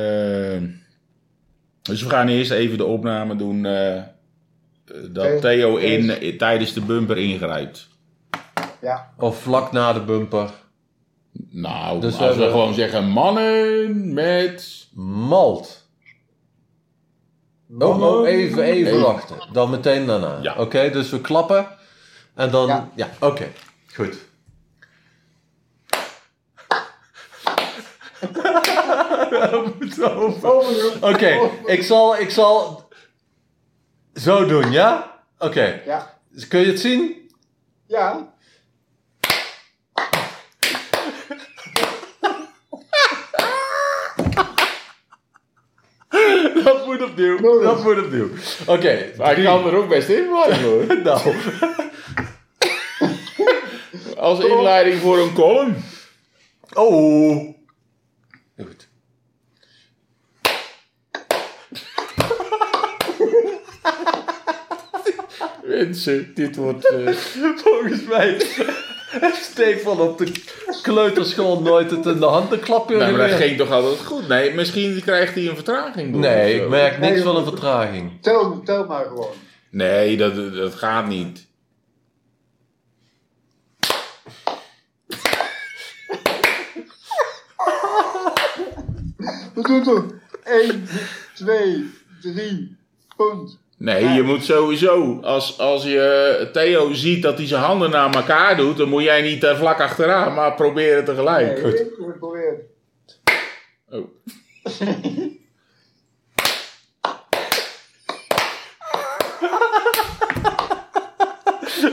Ehm, Dus we gaan eerst even de opname doen eh, dat Oké. Theo in, eh, tijdens de bumper ingrijpt. Ja. Of vlak na de bumper. Nou, Dus we als we hebben- gewoon zeggen mannen met... Malt. Oh, oh, even, even wachten. Dan meteen daarna. Ja. Oké, dus we klappen. En dan... Ja, Ja. oké. Goed. We moeten over. Oké, ik, zal, ik zal... Zo doen, ja? Oké. Ja. Kun je het zien? Ja. Dat moet opnieuw. Mooi. Dat moet opnieuw. Oké. Hij drie. kan er ook best in worden hoor. Nou. Als inleiding voor een column. Oh. Goed. Mensen, dit wordt... eh, Volgens mij heeft Stefan op de kleuterschool nooit het in de handen klapje Nee, maar dat ging toch altijd goed? Nee, misschien krijgt hij een vertraging. door of Nee, zo. ik merk niks van een vertraging. Tel, tel maar gewoon. Nee, dat, dat gaat niet. We doen toch 1, 2, 3, punt. Nee, je moet sowieso, als, als je Theo ziet dat hij zijn handen naar elkaar doet, dan moet jij niet eh, vlak achteraan, maar proberen tegelijk. Nee, goed. ik heb het geprobeerd. Oh.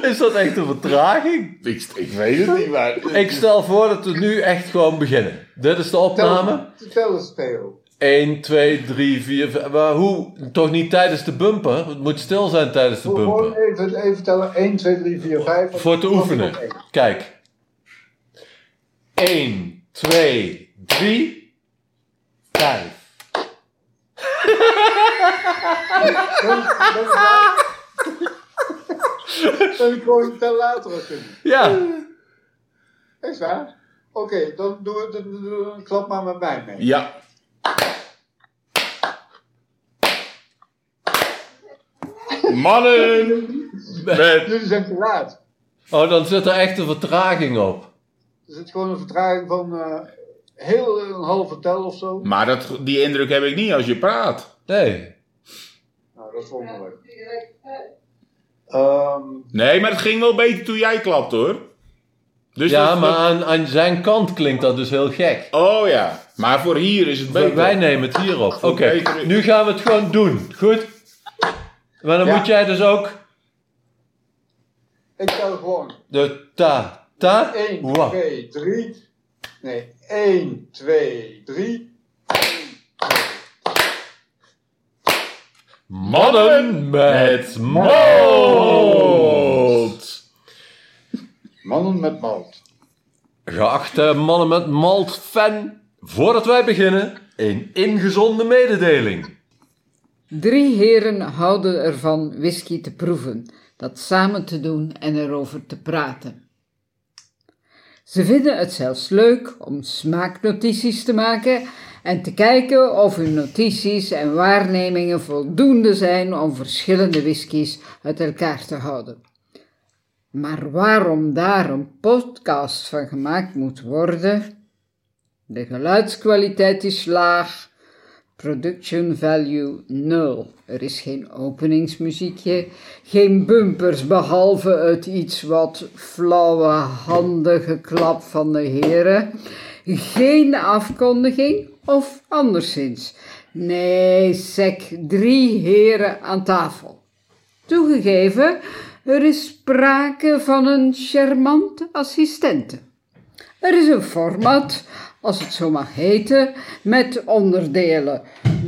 Is dat echt een vertraging? Ik, ik weet het niet, maar... Ik stel voor dat we nu echt gewoon beginnen. Dit is de opname. Tel, tel eens Theo. 1, 2, 3, 4, 5. Maar hoe? Toch niet tijdens de bumper? Het moet stil zijn tijdens de Gewoon bumper. even, even tellen. 1, 2, 3, 4, 5. Voor te oefenen. Kijk. 1, 2, 3, 5. Dan kon je tel later ook kunnen. Ja. Echt waar? Oké, dan doen we dan- dan- dan klap maar met mij mee. Ja. Mannen! Met... Jullie zijn te laat. Oh, dan zit er echt een vertraging op. Er zit gewoon een vertraging van eh, heel een halve tel of zo. Maar dat, die indruk heb ik niet als je praat. Nee. Nou, dat is wonderlijk. Ehm, Nee, maar het ging wel beter toen jij klapt hoor. Dus ja, dat- maar aan, aan zijn kant klinkt dat dus heel gek. Oh ja, maar voor hier is het beter. Wij nemen het hierop. Oké, beter. nu gaan we het gewoon doen. Goed? Maar dan Ja. moet jij dus ook ik tel gewoon de ta, ta, 1, wa. 2, 3. Nee, 1, 2, 3. Mannen met mol. Malt. Mannen met malt. Geachte mannen met malt fan, voordat wij beginnen, een ingezonde mededeling. Drie heren houden ervan whisky te proeven, dat samen te doen en erover te praten. Ze vinden het zelfs leuk om smaaknotities te maken en te kijken of hun notities en waarnemingen voldoende zijn om verschillende whiskies uit elkaar te houden. Maar waarom daar een podcast van gemaakt moet worden? De geluidskwaliteit is laag. Production value 0. Er is geen openingsmuziekje, geen bumpers behalve het iets wat flauwe handige klap van de heren. Geen afkondiging of anderszins. Nee, sec drie heren aan tafel. Toegegeven, er is sprake van een charmante assistente. Er is een format, als het zo mag heten, met onderdelen.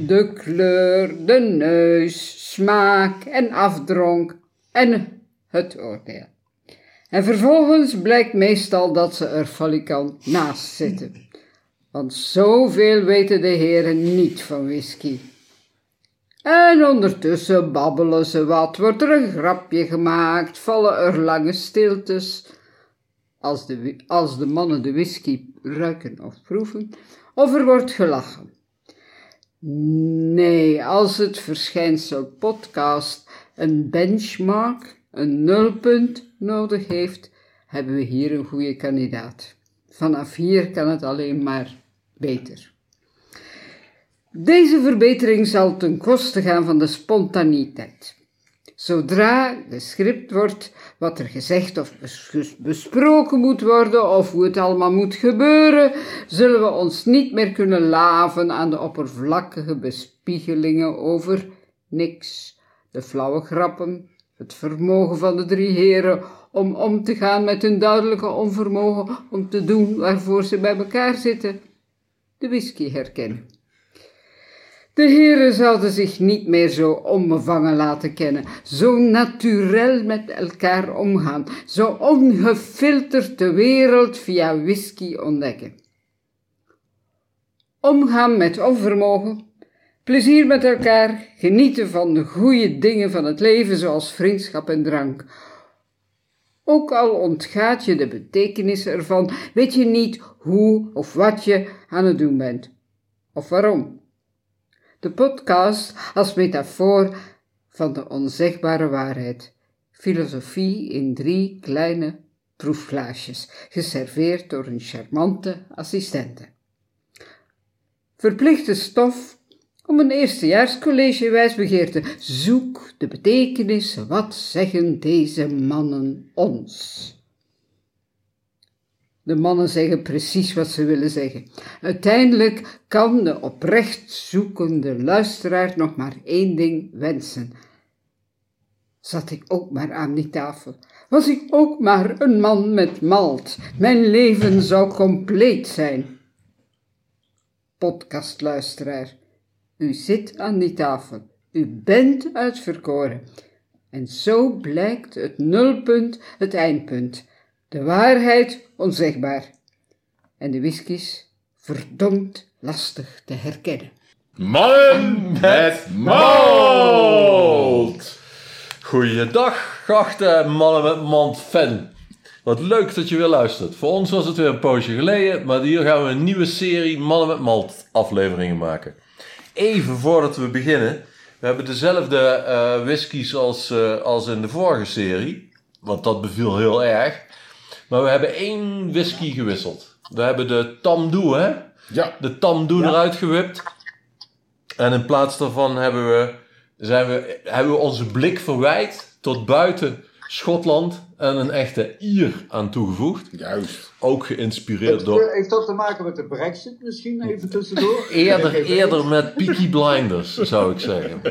De kleur, de neus, smaak en afdronk en het oordeel. En vervolgens blijkt meestal dat ze er falikant naast zitten. Want zoveel weten de heren niet van whisky. En ondertussen babbelen ze wat, wordt er een grapje gemaakt, vallen er lange stiltes als de, wi- als de mannen de whisky ruiken of proeven, of er wordt gelachen. Nee, als het verschijnsel podcast een benchmark, een nulpunt nodig heeft, hebben we hier een goede kandidaat. Vanaf hier kan het alleen maar beter. Deze verbetering zal ten koste gaan van de spontaniteit. Zodra gescript wordt wat er gezegd of bes- besproken moet worden of hoe het allemaal moet gebeuren, zullen we ons niet meer kunnen laven aan de oppervlakkige bespiegelingen over niks, de flauwe grappen, het vermogen van de drie heren om om te gaan met hun duidelijke onvermogen om te doen waarvoor ze bij elkaar zitten, de whisky herkennen. De heren zouden zich niet meer zo onbevangen laten kennen, zo naturel met elkaar omgaan, zo ongefilterd de wereld via whisky ontdekken. Omgaan met onvermogen, plezier met elkaar, genieten van de goede dingen van het leven zoals vriendschap en drank. Ook al ontgaat je de betekenis ervan, weet je niet hoe of wat je aan het doen bent. Of waarom. De podcast als metafoor van de onzegbare waarheid. Filosofie in drie kleine proefglaasjes, geserveerd door een charmante assistente. Verplichte stof om een eerstejaarscollege wijsbegeerte. Zoek de betekenis, wat zeggen deze mannen ons? De mannen zeggen precies wat ze willen zeggen. Uiteindelijk kan de oprecht zoekende luisteraar nog maar één ding wensen. Zat ik ook maar aan die tafel? Was ik ook maar een man met malt? Mijn leven zou compleet zijn. Podcastluisteraar, u zit aan die tafel. U bent uitverkoren. En zo blijkt het nulpunt het eindpunt. De waarheid onzegbaar. En de whiskies verdomd lastig te herkennen. Mannen met malt! Goeiedag, geachte mannen met mand fan. Wat leuk dat je weer luistert. Voor ons was het weer een poosje geleden, maar hier gaan we een nieuwe serie Mannen met malt afleveringen maken. Even voordat we beginnen, we hebben dezelfde eh whiskies als, eh, als in de vorige serie, want dat beviel heel erg. Maar we hebben één whisky gewisseld. We hebben de Tamdoe, hè? Ja, de tamdoen eruit gewipt. En in plaats daarvan hebben we, zijn we, hebben we onze blik verwijt tot buiten Schotland en een echte Ier aan toegevoegd. juist. Ook geïnspireerd door eh, Heeft dat te maken met de brexit misschien even tussendoor? eerder, Ik weet eerder met Peaky Blinders, zou ik zeggen.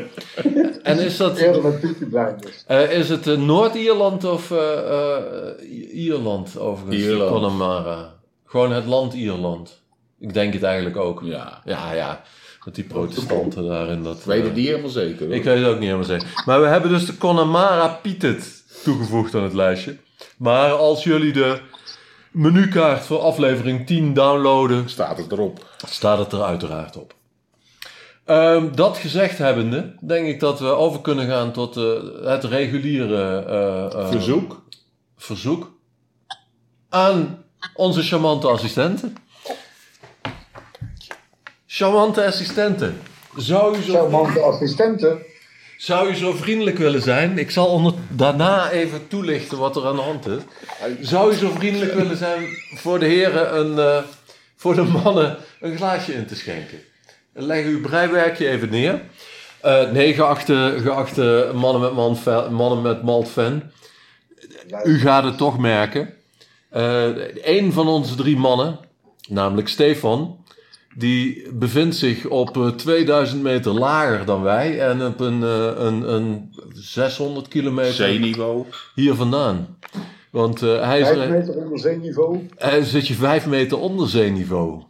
En is dat, het niet. Eerder met Peaky Blinders. eh, is het eh, Noord-Ierland of eh, eh, I- Ierland overigens? Ierland. Connemara. eh, Gewoon het land Ierland. Ik denk het eigenlijk ook. Ja. ja. ja. Met die protestanten daarin. Dat, Ik weet eh, het niet helemaal zeker. hoor. Ik weet het ook niet helemaal zeker. Maar we hebben dus de Connemara Pietet toegevoegd aan het lijstje. Maar als jullie de menukaart voor aflevering 10 downloaden, Staat het erop. staat het er uiteraard op. Ehm, dat gezegd hebbende, denk ik dat we over kunnen gaan tot eh, het reguliere eh, eh, Verzoek. verzoek aan onze charmante assistenten. Charmante assistenten, zou u zo Charmante assistenten. zou u zo vriendelijk willen zijn? Ik zal onder... daarna even toelichten wat er aan de hand is. Zou u zo vriendelijk willen zijn voor de heren een, eh, voor de mannen een glaasje in te schenken? Leg uw breiwerkje even neer. Eh, nee, geachte, geachte mannen met, man fan- mannen met malt fan. U gaat het toch merken. Eh, een van onze drie mannen, namelijk Stefan, die bevindt zich op eh, 2000 meter lager dan wij en op een, eh, een, een 600 Eh, kilometer C-niveau. hier vandaan. Want eh, hij, is, Vijf er- meter onder zeeniveau. hij zit je vijf meter onder zeeniveau.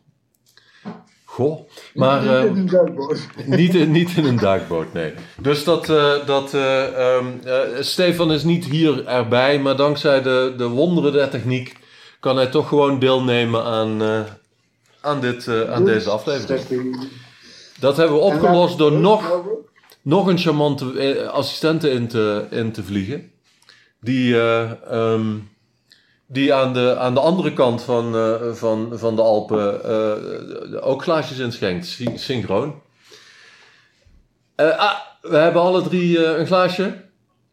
Goh, maar... Niet eh, in een duikboot. niet, in, niet in een duikboot, nee. Dus dat, eh, dat eh, ehm, eh, Stefan is niet hier erbij, maar dankzij de, de wonderen der techniek kan hij toch gewoon deelnemen aan, eh, aan, dit, eh, aan Dus deze aflevering. Zegt hij. Dat hebben we opgelost door En Oh, nog laat ik het nog een charmante eh, assistente in te, in te vliegen. Die, eh, ehm, die aan, de, aan de andere kant van, eh, van, van de Alpen eh, ook glaasjes inschenkt, sy- synchroon. Eh, ah, we hebben alle drie eh, een glaasje.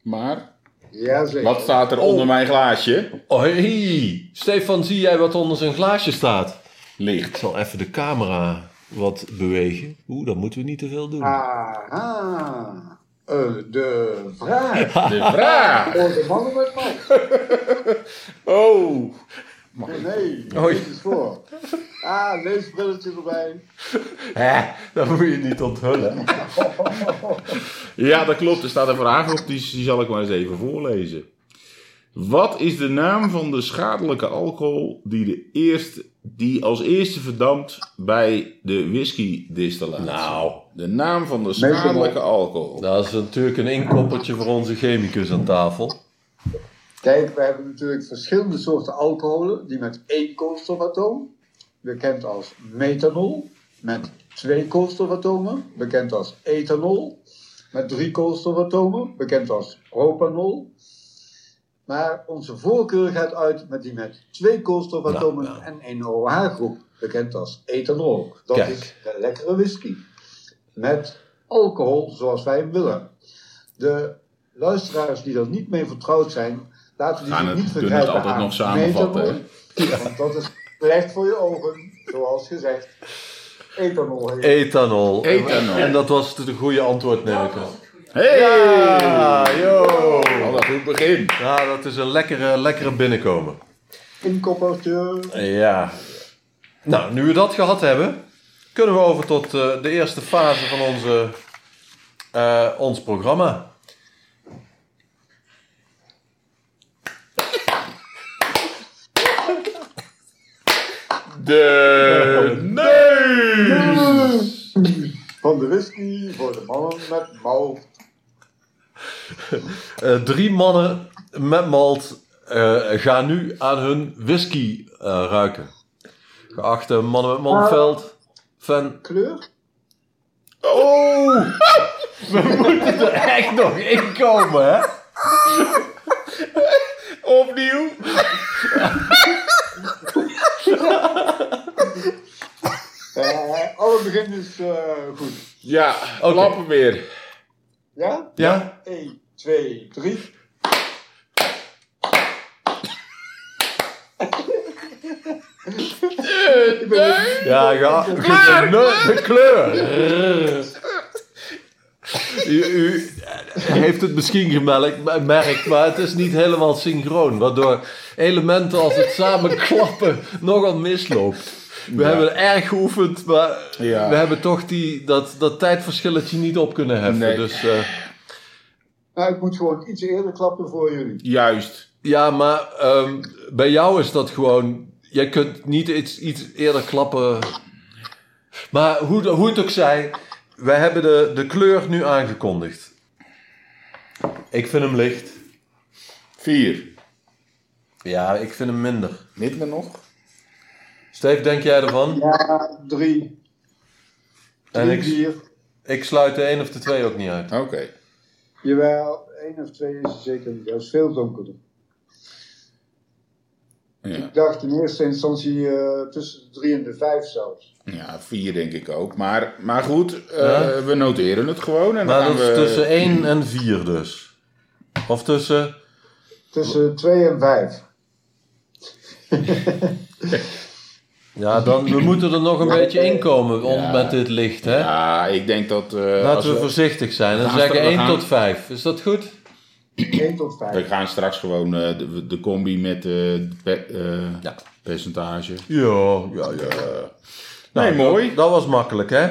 Maar, Ja, zeker. wat staat er onder mijn glaasje? Hoi, Stefan, zie jij wat onder zijn glaasje staat? Ik Licht. zal even de camera wat bewegen. Oeh, dat moeten we niet te veel doen. Ah. Aha. Eh, de vraag. De vraag. Voor de mannen met mij. Oh. Nee, Oei. lees eens voor. Ah, leesbrilletje erbij. Hè, dat moet je niet onthullen. Ja, dat klopt. Er staat een vraag op, die, die zal ik maar eens even voorlezen. Wat is de naam van de schadelijke alcohol die, de eerste, die als eerste verdampt bij de whisky-distillatie? Nou, De naam van de schadelijke alcohol. dat is natuurlijk een inkoppertje voor onze chemicus aan tafel. Kijk, we hebben natuurlijk verschillende soorten alcoholen die met één koolstofatoom, bekend als methanol, met twee koolstofatomen, bekend als ethanol, met drie koolstofatomen, bekend als propanol. Maar onze voorkeur gaat uit met die met twee koolstofatomen Nou, nou. en één OH-groep, bekend als ethanol. Dat Kijk. is de lekkere whisky. Met alcohol zoals wij hem willen. De luisteraars die er niet mee vertrouwd zijn, laten die Gaan zich het- niet kunnen vergrijpen het altijd aan nog samenvatten, hè? methanol, Want dat is slecht voor je ogen, zoals gezegd. Ethanol heet. Ethanol. Ethanol. En dat was de goede antwoord, neem ik aan. Hey! Ja, yo! Wat een goed begin. Ja, dat is een lekkere, lekkere binnenkomen. Inkopperteur. Ja. Nou, nu we dat gehad hebben, kunnen we over tot eh, de eerste fase van onze, eh, ons programma. De neus! Van de whisky voor de mannen met mouw. Eh, drie mannen met malt eh, gaan nu aan hun whisky eh, ruiken. Geachte mannen met maltveld, fan. Kleur? Oh! Er echt nog inkomen, hè? Opnieuw! Eh, alle begin is eh, goed. Ja, Oké. klappen weer. Ja? Ja? 1, 2, 3. Eh, Ik ben het Ja, ga. Klaar, De, de kleur! U, u eh, heeft het misschien gemerkt, maar het is niet helemaal synchroon. Waardoor elementen als het samen klappen nogal misloopt. We Ja. hebben erg geoefend, maar Ja. we hebben toch die, dat, dat tijdverschilletje niet op kunnen heffen. Nee. Dus, eh, Nou, ik moet gewoon iets eerder klappen voor jullie. Juist. ja, maar ehm, bij jou is dat gewoon... Jij kunt niet iets, iets eerder klappen. Maar hoe, hoe het ook zij, wij hebben de, de kleur nu aangekondigd. Ik vind hem licht. Vier. Ja, ik vind hem minder. Niet meer nog? Steve, denk jij ervan? Ja, 3, en 3, ik, 4. ik sluit de een of de twee ook niet uit. Oké. Jawel, 1 of 2 is er zeker niet. Dat is veel donkerder. Ja. Ik dacht in eerste instantie eh, tussen de 3 en de 5 zelfs. ja, vier denk ik ook. Maar, maar goed, eh, Ja. we noteren het gewoon. En dan Maar gaan dat is we... tussen 1 en 4 dus. Of tussen. Tussen 2 en 5. Ja, dan, we moeten er nog een beetje inkomen om, Ja. met dit licht. Hè? Ja, ik denk dat... eh, als Laten we we, voorzichtig zijn en Laten zeggen we 1 gaan- tot 5. Is dat goed? 1 tot 5. we gaan straks gewoon eh, de, de combi met eh, pe- eh, Ja. percentage. Ja, ja, ja. Nou, nee, mooi. Dat, dat was makkelijk, hè?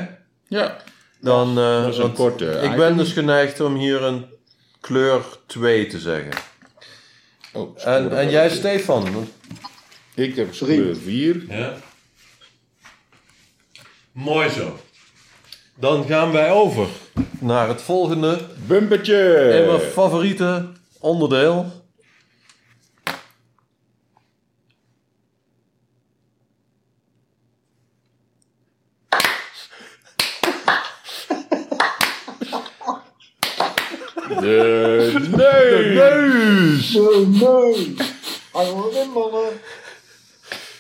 Ja. Dan, eh, Dat is een want korte ik item. ben dus geneigd om hier een kleur 2 te zeggen. Oh, En, en jij, Stefan? Ik heb Drie. kleur vier. Ja. Mooi zo. Dan gaan wij over naar het volgende Bumpertje! en mijn favoriete onderdeel. De neus! Oh, nee! Hang maar in, mannen.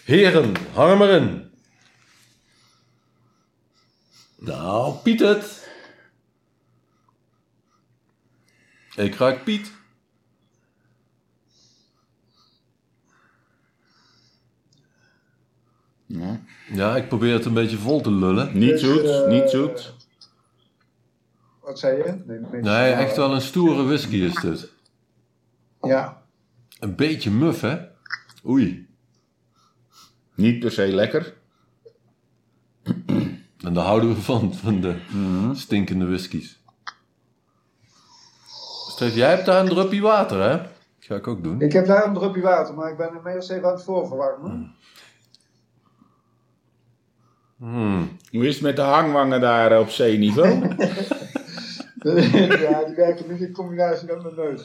Heren, hang er maar in. Nou, Piet het. Ik ruik Piet. Ja. Ja, ik probeer het een beetje vol te lullen. Niet Dus, zoet, eh, niet zoet. Wat zei je? Nee, mensen- Nee, echt wel een stoere whisky is dit. Ja, Een beetje muf, hè? Oei. Niet per se lekker. En daar houden we van, van de stinkende whiskies. Steef, jij hebt daar een druppie water, hè? ga ik ook doen. ik heb daar een druppje water, maar ik ben hem eerst even aan het voorverwarmen. Hmm. Hoe is het met de hangwangen daar eh, op zeeniveau? ja, die werken niet in combinatie met mijn neus.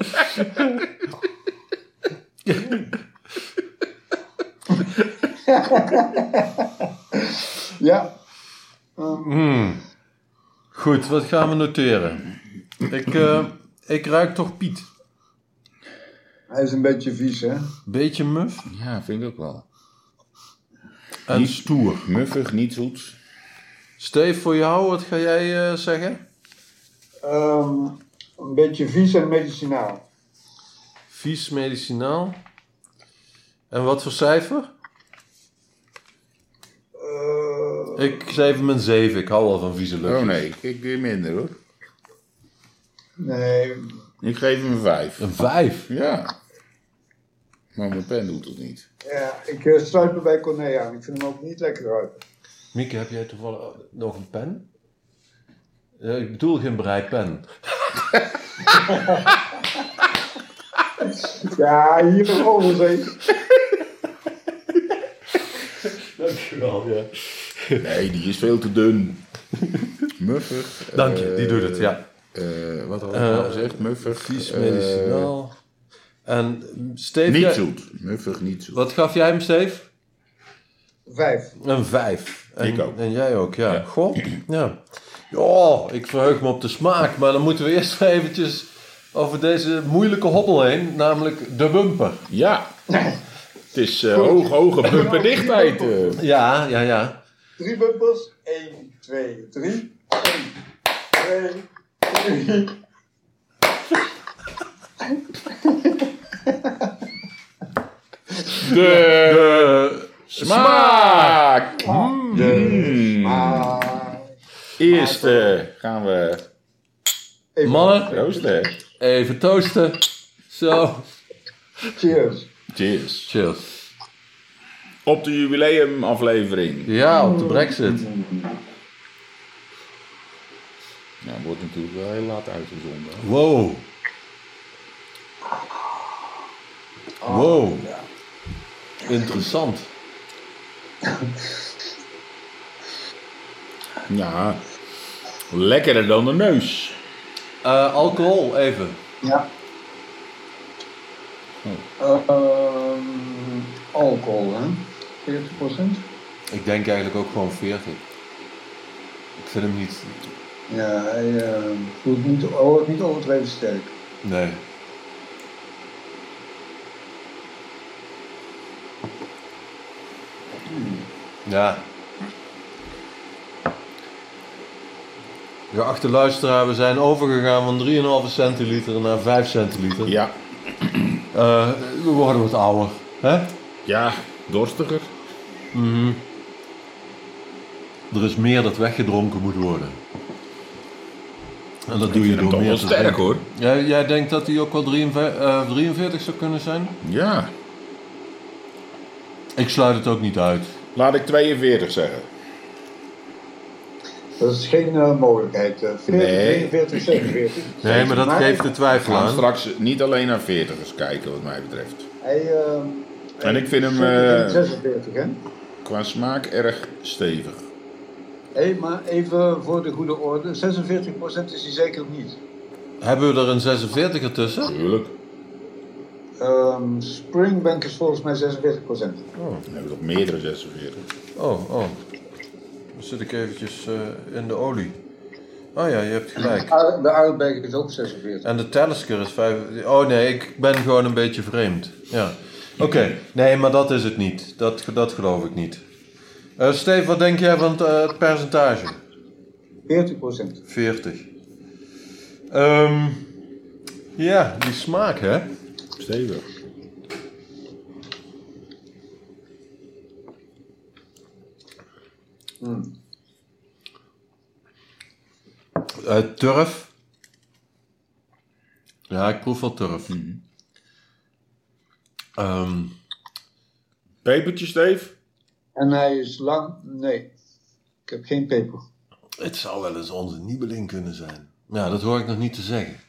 ja, Hmm. Goed, wat gaan we noteren? Ik, eh, ik ruik toch Piet. hij is een beetje vies, hè? Beetje muf ja, vind ik ook wel. en Niet- stoer. Muffig, niet zoet. Steef, voor jou, wat ga jij eh, zeggen? Ehm, een beetje vies en medicinaal. Vies medicinaal. En wat voor cijfer? Eh, Ik geef hem een 7. Ik hou al van vieze lucht. Oh nee, ik weer minder hoor. nee, Ik geef hem een vijf. Een 5. Ja. Maar mijn pen doet het niet. ja, ik eh, sluit me bij Corné aan. Ik vind hem ook niet lekker uit. Mieke, heb jij toevallig oh, nog een pen? Eh, ik bedoel geen breipen. Ja, hier nog overzees. Dankjewel, ja. Nee, die is veel te dun. Muffig. Dank je, eh, die doet het, ja. eh, wat had ik nou Eh, gezegd? Muffig. Vies eh, medicinaal. Nou, En mm, Steef, niet jij- zoet. Muffig, niet zoet. wat gaf jij hem, Steef? Vijf. Een 5. En, Ik ook. En jij ook, ja. Goh, ja. Ja, ik verheug me op de smaak, maar dan moeten we eerst eventjes over deze moeilijke hobbel heen, namelijk de bumper. Ja. Het is eh, hoog, hoge bumperdichtheid. eh. Ja, ja, ja. Drie bumpers. 1, 2, 3. 1, 2, 3. De smaak. Hmm. Maar Eerst eh, gaan we even. Mannen, roosten. even toosten. Zo. Cheers. Cheers. Cheers. Op de jubileumaflevering. Ja, op de brexit. Ja, Nou, wordt natuurlijk wel heel laat uitgezonden. Wow. Wow. Interessant. Ja, lekkerder dan de neus. Eh, alcohol, even. Ja. Ehm, alcohol, hè? 40%? Ik denk eigenlijk ook gewoon 40. Ik vind hem niet... Ja, hij eh, voelt niet, oh, niet overdreven sterk. Nee. Ja. Geachte luisteraar, we zijn overgegaan van 3,5 centiliter naar 5 centiliter. Ja, Eh, we worden wat ouder. Hè? ja, dorstiger. Er is meer dat weggedronken moet worden. En dat doe vind je hem door toch meer wel te sterk, drinken. hoor. Jij, jij denkt dat hij ook wel 43, eh, 43 zou kunnen zijn? Ja. Ik sluit het ook niet uit. Laat ik 42 zeggen. Dat is geen eh, mogelijkheid. eh, 40, Nee. 43, 47. Nee, maar dat geeft de We twijfel gaan aan. straks niet alleen naar 40ers kijken, wat mij betreft. Hij, eh, En ik vind hem eh, 46, hè? qua smaak erg stevig. Hé, maar even voor de goede orde. 46% is hij zeker niet. Hebben we er een 46 er tussen? Tuurlijk. Ehm Springbank is volgens mij 46%. Dan hebben we nog meerdere 46. Oh, oh. Dan zit ik eventjes eh, in de olie. Oh ja, je hebt gelijk. Ah, De Outback is ook 46. En de Talisker is 5. Oh nee, ik ben gewoon een beetje vreemd. Ja. Oké, nee, maar dat is het niet. Dat, dat geloof ik niet. Eh Steve, wat denk jij van het eh, percentage? 40%. 40. Ehm, Ja, die smaak, hè? Stevig. Eh, turf. Ja, ik proef wel turf. Ehm, Pepertje, Steef? En hij is lang. Nee, ik heb geen peper. het zou wel eens onze nieuweling kunnen zijn. Ja, dat hoor ik nog niet te zeggen.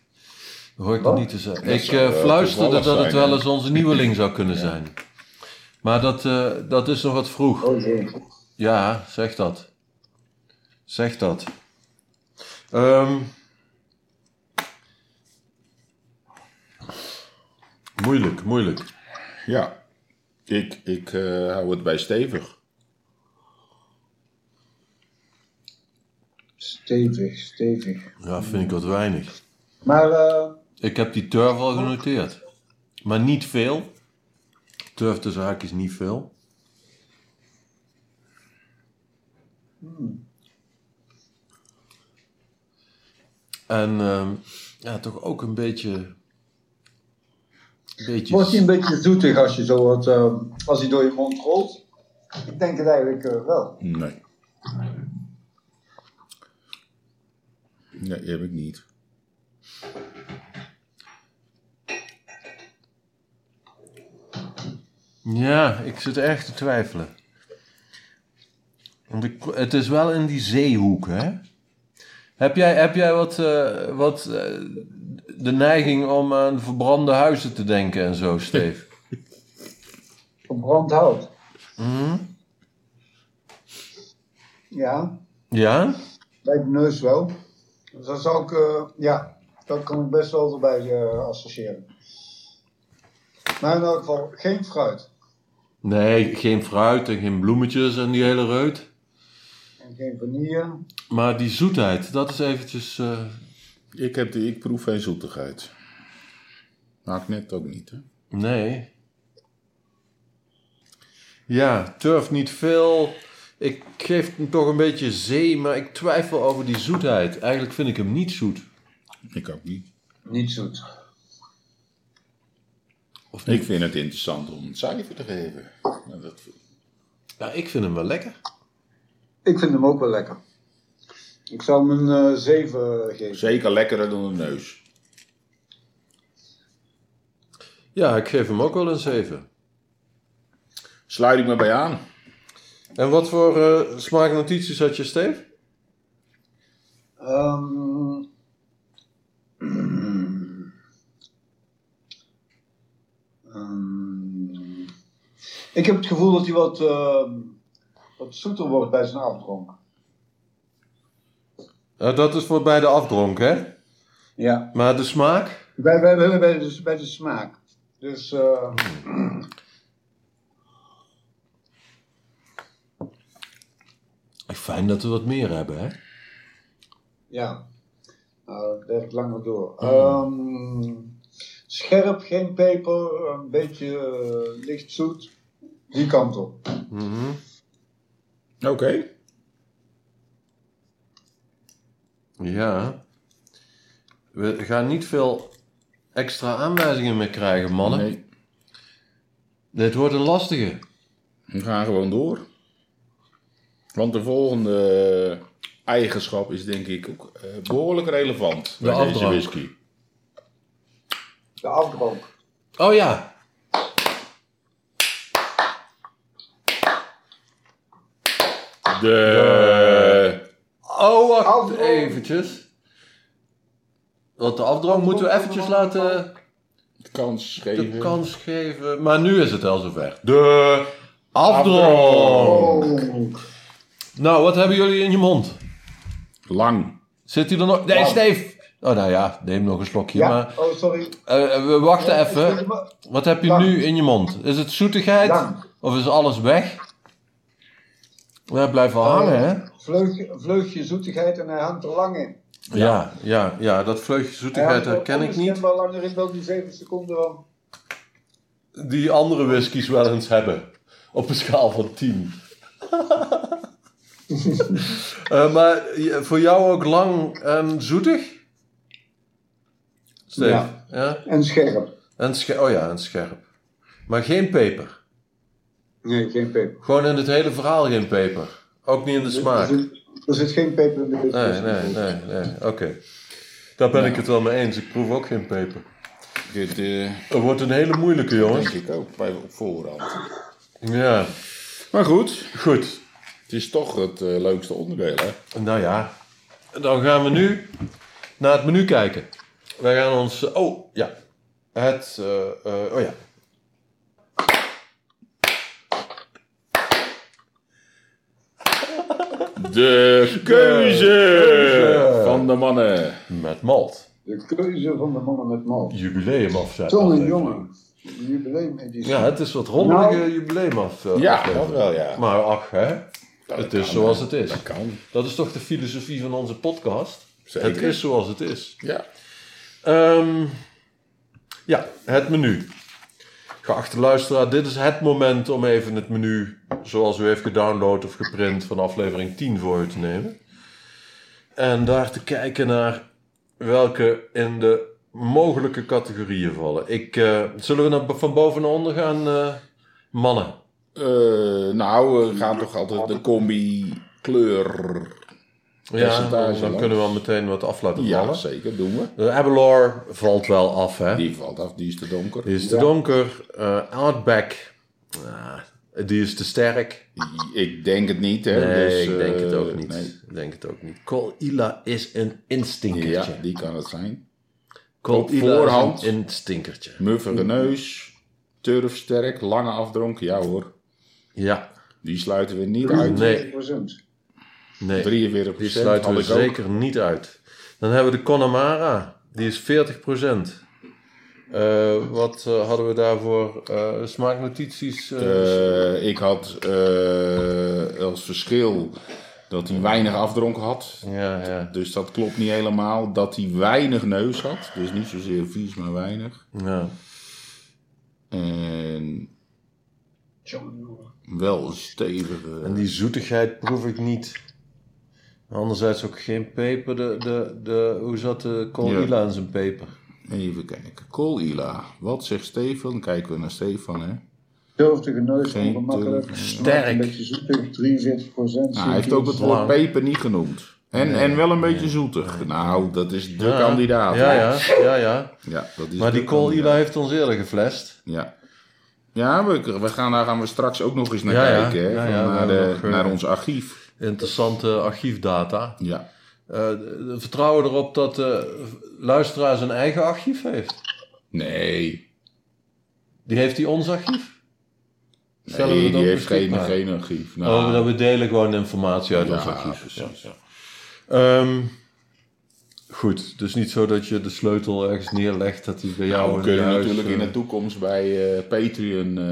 Dat hoor ik Wat? nog niet te zeggen. Dat Ik zou, eh, eh, fluisterde toevallig dat het zijn, wel hè? eens onze nieuweling zou kunnen zijn. Maar dat, eh, dat is nog wat vroeg. Oh jee. Ja, zeg dat. Zeg dat. Ehm. moeilijk, moeilijk. Ja. Ik, ik eh, hou het bij stevig. Stevig, stevig. Ja, vind ik wat weinig. Maar eh, Ik heb die turf al genoteerd. Maar niet veel. Turf tussen haakjes niet veel. En ehm, ja, toch ook een beetje... een beetje wordt hij een beetje zoetig als je zo wat, eh, als hij door je mond rolt? Ik denk het eigenlijk eh, wel. Nee. Nee, die heb ik niet. Ja, ik zit erg te twijfelen. Want ik, het is wel in die zeehoek, hè? Heb jij, heb jij wat, eh, wat eh, de neiging om aan verbrande huizen te denken en zo, Steve? Verbrand hout. Hmm? Ja, Ja? bij de neus wel. Dus dat zou ik, eh, ja, dat kan ik best wel erbij eh, associëren. Maar in elk geval geen fruit Nee, geen fruit en geen bloemetjes en die hele reut. en geen vanille. Maar die zoetheid, dat is eventjes... eh, Ik, heb die, ik proef geen zoetigheid. Maakt net ook niet, hè? Nee. Ja, turf niet veel. Ik geef hem toch een beetje zee, maar ik twijfel over die zoetheid. Eigenlijk vind ik hem niet zoet. Ik ook niet. Niet zoet. Of niet? Ik vind het interessant om een cijfer te geven. Nou, dat, Ja, ik vind hem wel lekker. Ik vind hem ook wel lekker. Ik zou hem een eh 7 geven. zeker lekkerder dan de neus. Ja, ik geef hem ook wel een 7. Sluit ik me bij aan. En wat voor eh, smaaknotities had je, Steve? Ehm, ehm, ik heb het gevoel dat hij wat, ehm, wat zoeter wordt bij zijn afdronk. Nou, dat is voor bij de afdronk, hè? Ja. Maar de smaak? Bij, bij, bij, bij, de, bij de smaak. Dus eh, Fijn dat we wat meer hebben, hè? ja, nou, dat werkt langer door. Ehm, scherp, geen peper, een beetje eh, licht zoet. Die kant op. Mhm. Oké. Ja. We gaan niet veel extra aanwijzingen meer krijgen, mannen. Nee, Dit wordt een lastige. we gaan gewoon door. Want de volgende eigenschap is denk ik ook eh, behoorlijk relevant bij deze afdrank. whisky. De afdronk. Oh ja. De... Oh, wacht Afdronk. eventjes. Want de afdrong moeten we eventjes laten kans geven. de kans geven. Maar nu is het al zover. De afdrong. Afdronk. Oh. Nou, wat hebben jullie in je mond? Lang. Zit hij er nog? Nee, Wauw. Steef. Oh, nou ja, neem nog een slokje. Ja, Maar oh sorry. eh, we wachten Ja, even. maar- Wat heb je Lang. nu in je mond? Is het zoetigheid? Lang. Of is alles weg? Eh, Ja, blijft wel hangen, hè? Vleugje, vleugje zoetigheid en hij hangt er lang in. Ja, ja, ja. Dat vleugje Hij zoetigheid hangt er herken ik niet. onmiskenbaar langer in dan die 7 seconden. wel. die andere whiskies wel eens hebben. Op een schaal van 10. Eh, maar je- voor jou ook lang en zoetig? Steve? Ja. ja? En scherp. En sche- oh ja, en scherp. Maar geen peper. Nee, geen peper. Gewoon in het hele verhaal geen peper. Ook niet in de Er smaak. zit, er zit geen peper in de pit. Nee, nee, nee. nee. Oké. Daar ben ik het wel mee eens. Ik proef ook geen peper. Dit eh, Het wordt een hele moeilijke, jongens. denk ik ook bij op voorhand. Ja, Maar goed, goed. het is toch het eh, leukste onderdeel, hè? Nou ja, dan gaan we nu naar het menu kijken. Wij gaan ons. Oh ja. Het. eh, eh, oh ja. De keuze keuze. van de mannen. Met malt. De keuze van de mannen met mal. Jubileum afzet. Jongen, jongen. De jubileumeditie. Ja, het is wat rommelige Nou. jubileum af. eh, Ja, aflevering. dat wel, ja. Maar ach, hè. het is kan, zoals hè. het is. Dat kan. Dat is toch de filosofie van onze podcast? Zeker. Het is zoals het is. Ja. Ehm, ja, het menu. Geachte luisteraar, dit is het moment om even het menu zoals u heeft gedownload of geprint van aflevering 10 voor u te nemen. En daar te kijken naar welke in de mogelijke categorieën vallen. Ik, eh, zullen we naar, van boven naar onder gaan, eh, mannen? Eh, nou, we gaan toch altijd de combi kleur. Ja, Percentage, dan hè? kunnen we al meteen wat af laten vallen. Ja, zeker, doen we. De Abelor valt wel af, hè? Die valt af, die is te donker. Die is te donker. Eh, Outback, ah, die is te sterk. Ik denk het niet, hè? Nee, dus, ik denk het eh, ook niet. nee. Ik denk het ook niet. Colilla is een instinkertje. Ja, die kan het zijn. op Colilla voorhand. is een instinkertje. Muffige neus, turfsterk, lange afdronk. Ja hoor, Ja, die sluiten we niet uit. 43%. Nee. nee. 43 Die sluiten had we ik ook. zeker niet uit. Dan hebben we de Connemara. Die is 40 Eh, wat eh, hadden we daarvoor? eh smaaknotities? eh, Eh, ik had eh, als verschil dat hij weinig afdronken had. ja, ja. Dus dat klopt niet helemaal. Dat hij weinig neus had. Dus niet zozeer vies, maar weinig. ja. En wel een stevige. En die zoetigheid proef ik niet. Anderzijds ook geen peper. De, de, de, hoe zat de colila in zijn peper? Even kijken. Colila. Wat zegt Stefan? Kijken we naar Stefan, hè? Durftige neus, Geen ongemakkelijk. turf. Sterk. Een beetje zoetig, 43%. Nou, hij heeft ook het woord peper niet genoemd. En, en wel een beetje zoetig. Nou, dat is de kandidaat. Ja, hè? ja, ja, ja. Ja, dat is Maar de die colila kandidaat. heeft ons eerder geflasht. Ja. Ja, we, we gaan, daar gaan we straks ook nog eens naar Ja, ja. kijken. Hè? Ja, Van ja, we naar, de- hebben ook, eh, naar ons archief. Interessante archiefdata. Ja. Eh, de- vertrouwen erop dat de luisteraar zijn eigen archief heeft. Nee. Die heeft hij ons archief? Stellen we nee dat die heeft geen, beschikbaar? geen archief. Nou, Oh, dan we delen gewoon informatie uit Ja, ons archief. precies. Ja, ja. Ehm, goed, dus niet zo dat je de sleutel ergens neerlegt dat die bij jou Nou, we in kunnen huis, natuurlijk in eh, de toekomst bij eh, Patreon, eh,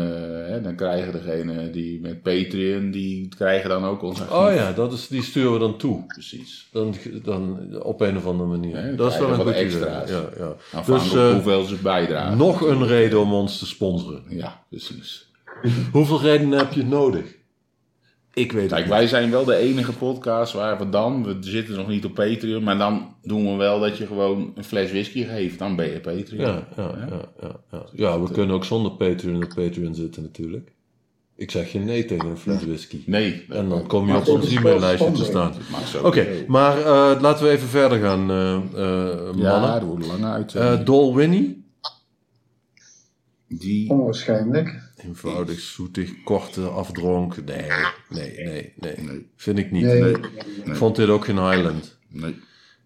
hè, dan krijgen degene die met Patreon, die krijgen dan ook ons archief. Oh ja, dat is, die sturen we dan toe. Precies. Dan, dan op een of andere manier. Ja, dan dat is wel krijgen een we goed wat idee. extra's. Ja, ja. Afhankelijk Dus dus, eh, hoeveel ze bijdragen. nog een reden om ons te sponsoren. Ja, precies. Hoeveel redenen heb je nodig? Ik weet het Kijk, niet. wij zijn wel de enige podcast waar we dan, we zitten nog niet op Patreon, maar dan doen we wel dat je gewoon een fles whisky geeft, dan ben je Patreon. Ja, ja, ja, ja, ja. ja, we kunnen ook zonder Patreon op Patreon zitten natuurlijk. Ik zeg geen nee tegen een fles whisky. Nee, dat En dan kom je op dat ons is e-maillijstje te staan. sponsoring. mag zo. Oké, maar eh, laten we even verder gaan, eh, eh, mannen. Ja, dat wordt lang uit. Eh, Dol Winnie. oh. die Onwaarschijnlijk. Eenvoudig, zoetig, korte afdronk. Nee, nee, nee, nee. Nee. Vind ik niet. Nee. Ik vond dit ook geen Highland. nee,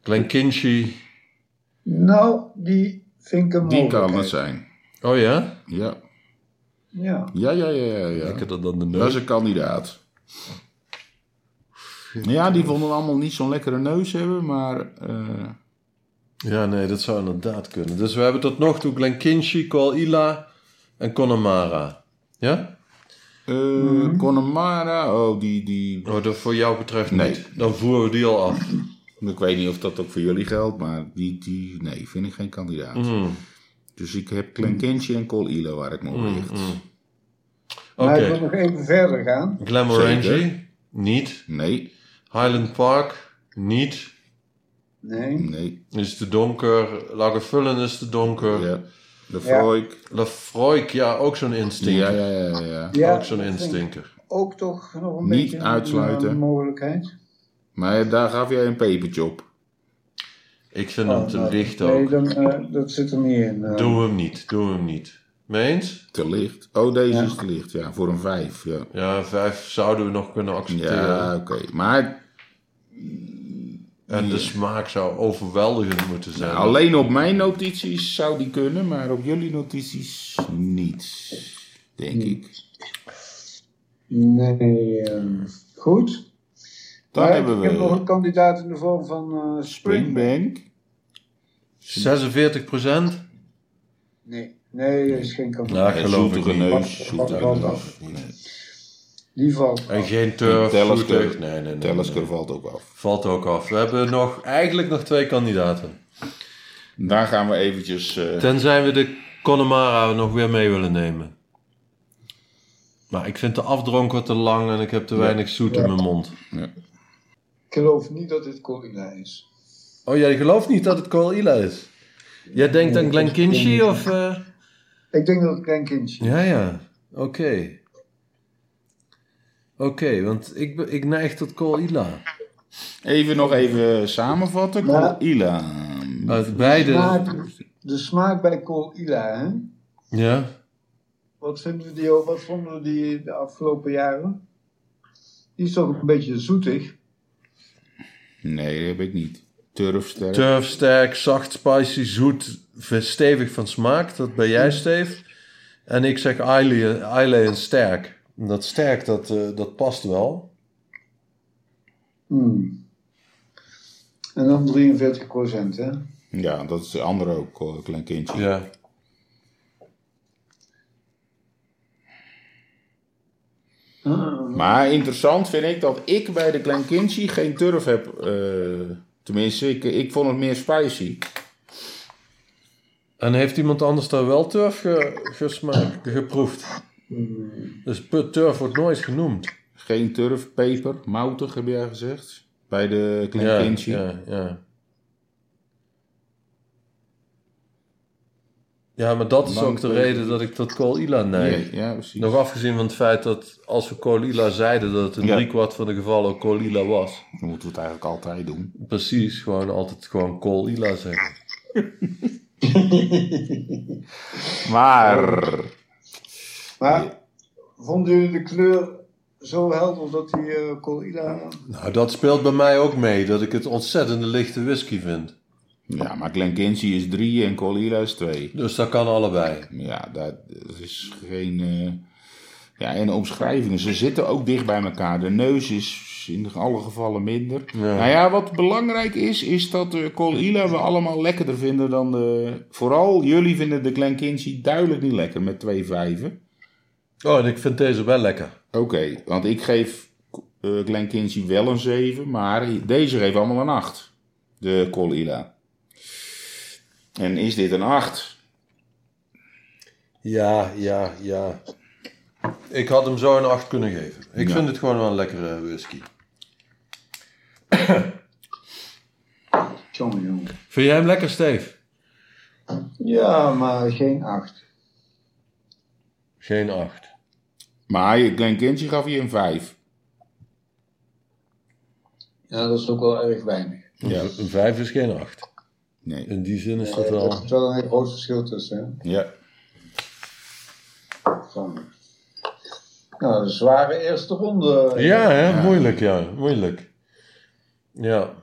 Glenkinchie. Nou, die vind ik een die kan het mogelijkheid. zijn. Oh ja? Ja, Ja. ja, ja, ja, ja. ja. Lekkerder dan de Dat is neus. een kandidaat. Ja, die vonden allemaal niet zo'n lekkere neus hebben, maar eh, Ja, nee, dat zou inderdaad kunnen. Dus we hebben tot nog toe Glenkinchie, Kualila en Connemara. Ja? eh, Mhm. Connemara, oh die, die, Oh, dat voor jou betreft Nee. niet. Dan voeren we die al af. ik weet niet of dat ook voor jullie geldt, maar die, die, nee, vind ik geen kandidaat. Mhm. Hm. Dus ik heb Klenkentje en Colilo waar ik me op Mhm. richt. Oké. Maar ik wil nog even verder gaan. Glamorangie. Zeker. Niet. Nee, Highland Park. Niet. Nee. Nee. Is te donker. Lagavulin is te donker. Ja. De Froik. Lafroik, ja, ook zo'n instinker. Ja, ja, ja, ja. ja. Ja, ook zo'n dat vind ik instinker. Ook toch nog een Niet beetje een, uitsluiten. eh, mogelijkheid. Maar daar gaf jij een pepertje op. Ik vind hem te Oh, nou, licht Nee, ook. dan, eh, dat zit er niet in. eh. Doe hem niet, doe hem niet. Meens? Te licht. Oh, deze Ja. is te licht, ja. Voor een vijf, ja. Ja, vijf zouden we nog kunnen accepteren. Ja, oké. Maar En de smaak zou overweldigend moeten zijn. alleen op mijn notities zou die kunnen, maar op jullie notities niet. Denk ik. Nee, Hmm. ehm, goed. Dan Maar hebben Ik heb nog een we kandidaat in de vorm van eh, Springbank. Springbank. 46 procent? Nee, nee, er is geen kandidaat. Nou, Ja, geloof ik zoetige niet. neus, zoetige Wat- wat- neus. wat- Nee. Die valt. En af. geen turf, Tellesker. zoetig. Nee, nee, nee, nee. Tellesker valt ook af. Valt ook af. We hebben nog, eigenlijk nog twee kandidaten. Daar gaan we eventjes... eh, Tenzij we de Connemara nog weer mee willen nemen. Maar ik vind de afdronk wat te lang en ik heb te weinig zoet in mijn mond. Ik geloof niet dat dit Corina is. Oh, jij gelooft niet dat het Corilla is? Jij denkt aan Glenkinchy of... eh? Ik denk dat het klein kindje. Ja, ja. Oké. Oké, want ik, be- ik neig tot Corilla. even nog even samenvatten. Ja. Ila. Uit beide... Maar de smaak bij Corina, hè? Ja. Wat, vinden we die, wat vonden we die de afgelopen jaren? Die is toch een beetje zoetig. Nee, dat heb ik niet. Turfster. Turf, sterk, zacht, spicy, zoet, v- stevig van smaak. Dat ben jij, Steef. En ik zeg Islay Islay en sterk. Dat sterk, dat, eh, dat past wel. Hmm. En dan 43 procent, hè? ja, dat is de andere ook, eh, klein kindje. Ja. Ah, Maar interessant vind ik dat ik bij de Klein Kinchi geen turf heb. eh, tenminste, ik, ik vond het meer spicy. En heeft iemand anders daar wel turf ge- gesmaakt, geproefd? Dus pu- turf wordt nooit genoemd. Geen turf, peper, moutig heb jij gezegd. Bij de Klein Ja, Kinchi. ja, ja. Ja, maar dat is Lang ook de leven. reden dat ik tot Corilla neig. Nee, ja, precies. Nog afgezien van het feit dat als we Colila zeiden dat het in Ja. driekwart van de gevallen ook Colila was. Dan moeten we het eigenlijk altijd doen. Precies, gewoon altijd gewoon Colila zeggen. Maar. Maar vonden jullie de kleur zo helder dat die eh, Corina... Nou, dat speelt bij mij ook mee, dat ik het ontzettende lichte whisky vind. Ja, maar Klein Kinchi is 3 en Colila is 2. Dus dat kan allebei. Ja, dat, dat is geen. eh, ja, en de omschrijvingen. Ze zitten ook dicht bij elkaar. De neus is in alle gevallen minder. Ja. Nou ja, wat belangrijk is, is dat de Colila we allemaal lekkerder vinden dan de... Vooral jullie vinden de Glen Kinchy duidelijk niet lekker met twee vijven. Oh, en ik vind deze wel lekker. Oké, want ik geef eh Glen Kinchy wel een 7, maar deze geeft allemaal een 8. De Colila. En is dit een 8? Ja, ja, ja. Ik had hem zo een 8 kunnen geven. Ik Ja. vind het gewoon wel een lekkere whisky. Jongen, jongen. Vind jij hem lekker, Steef? Ja, maar geen acht. Geen 8. Maar Glen Kinchy gaf je een 5. Ja, dat is ook wel erg weinig. Ja. Een 5 is geen 8. Nee. In die zin is dat Er wel. is wel een heel groot verschil tussen. Ja. Hè? Van- Nou, een zware eerste ronde. Ja, hè? moeilijk, ja. Moeilijk. Ja.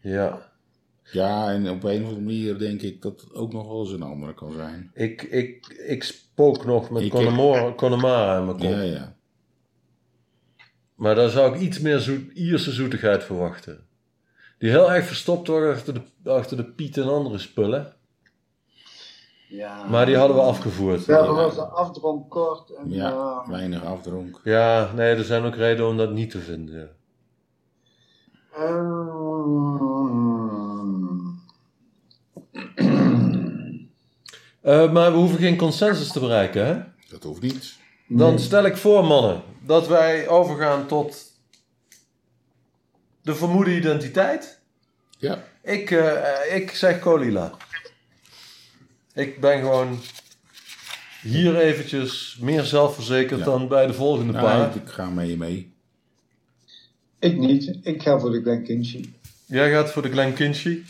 Ja. ja, en op een of andere manier denk ik dat het ook nog wel eens een andere kan zijn. Ik, ik, ik spook nog met Ik- Connemara Connemara in mijn kop. Ja, ja. Maar daar zou ik iets meer zoet, Ierse zoetigheid verwachten. Die heel erg verstopt wordt achter de, achter de piet en andere spullen. Ja. Maar die hadden we afgevoerd. Ja, dat was de afdronk kort. En, Ja, eh, weinig afdronk. Ja, nee, er zijn ook redenen om dat niet te vinden. ja. eh, ehm, Eh, maar we hoeven geen consensus te bereiken, hè? Dat hoeft niet. Dan stel ik voor, mannen, dat wij overgaan tot de vermoede identiteit. Ja. Ik, eh, ik zeg Colila. Ik ben gewoon hier eventjes meer zelfverzekerd Ja. dan bij de volgende paar. Nou, ik ga mee mee. Ik niet. Ik ga voor de Glen Kinchy. Jij gaat voor de Glen Kinchy.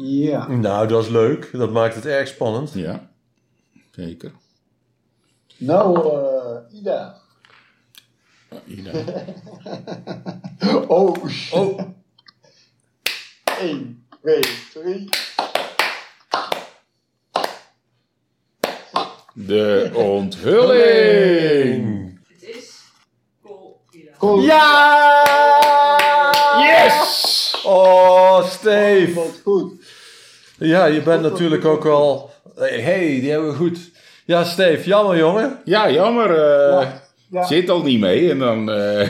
Ja. Nou, dat is leuk. Dat maakt het erg spannend. Ja. Zeker. Nou, eh, Ida. Ida. Oh, Oh, 1, 2, 3. De onthulling! Het is Colila. ja! Yes! Oh, Steve. Wat goed. Ja, je bent natuurlijk ook wel... Hé, hey, die hebben we goed. Ja, Steve, jammer jongen. Ja, jammer. eh, Ja. Zit al niet mee en dan... eh,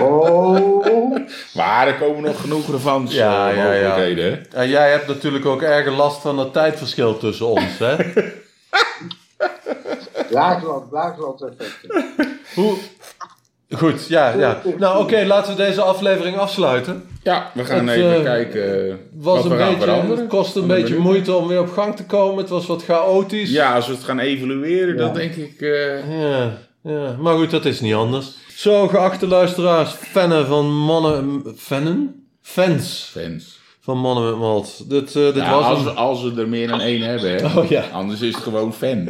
Oh, maar er komen nog genoeg ervan. Ja, ja, ja. mogelijkheden. hè? En jij hebt natuurlijk ook erg last van het tijdverschil tussen ons, hè? laagland, laagland effecten. Hoe... Goed, ja, ja. Nou, oké, laten we deze aflevering afsluiten. Ja, we gaan Het, even eh, kijken eh, Was wat we een gaan beetje, veranderen. het kostte een Wat er beetje lukt. moeite om weer op gang te komen. Het was wat chaotisch. Ja, als we het gaan evalueren, dan denk ik... eh, Ja, ja, maar goed, dat is niet anders. Zo, geachte luisteraars, fannen van mannen... Fannen? Fans fans. van mannen met malt. Dit, eh, dit Ja, was als, een... we- als we er meer dan één hebben, hè. Oh ja. Anders is het gewoon fan.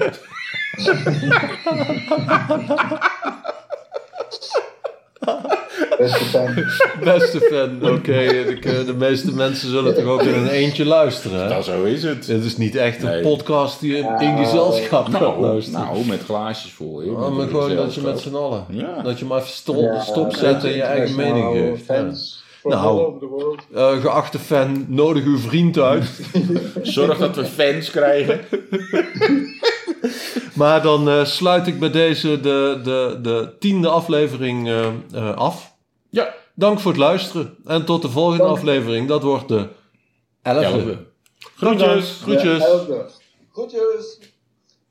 Beste fijn. Beste fan, oké. ik, eh, de meeste mensen zullen toch ook in een eentje luisteren. Hè? Nou, zo is het. Het is niet echt een Nee. podcast die je in gezelschap gaat Nou, luisteren. nou, met glaasjes vol. hè, Ja, met maar een gewoon dat je gezelschap. Oh, met z'n allen. Ja. Dat je maar even stop, Ja, stopzet en je eigen mening internationale geeft. Fans. From Nou. all over the world. Ja. Eh, geachte fan, nodig uw vriend uit. Zorg dat we fans krijgen. maar dan eh, sluit ik bij deze de, de, de tiende aflevering eh, eh, af. Ja. Dank voor het luisteren. En tot de volgende aflevering. Dat wordt de elfde. Elke. Groetjes. Ja, Groetjes. helder. Groetjes.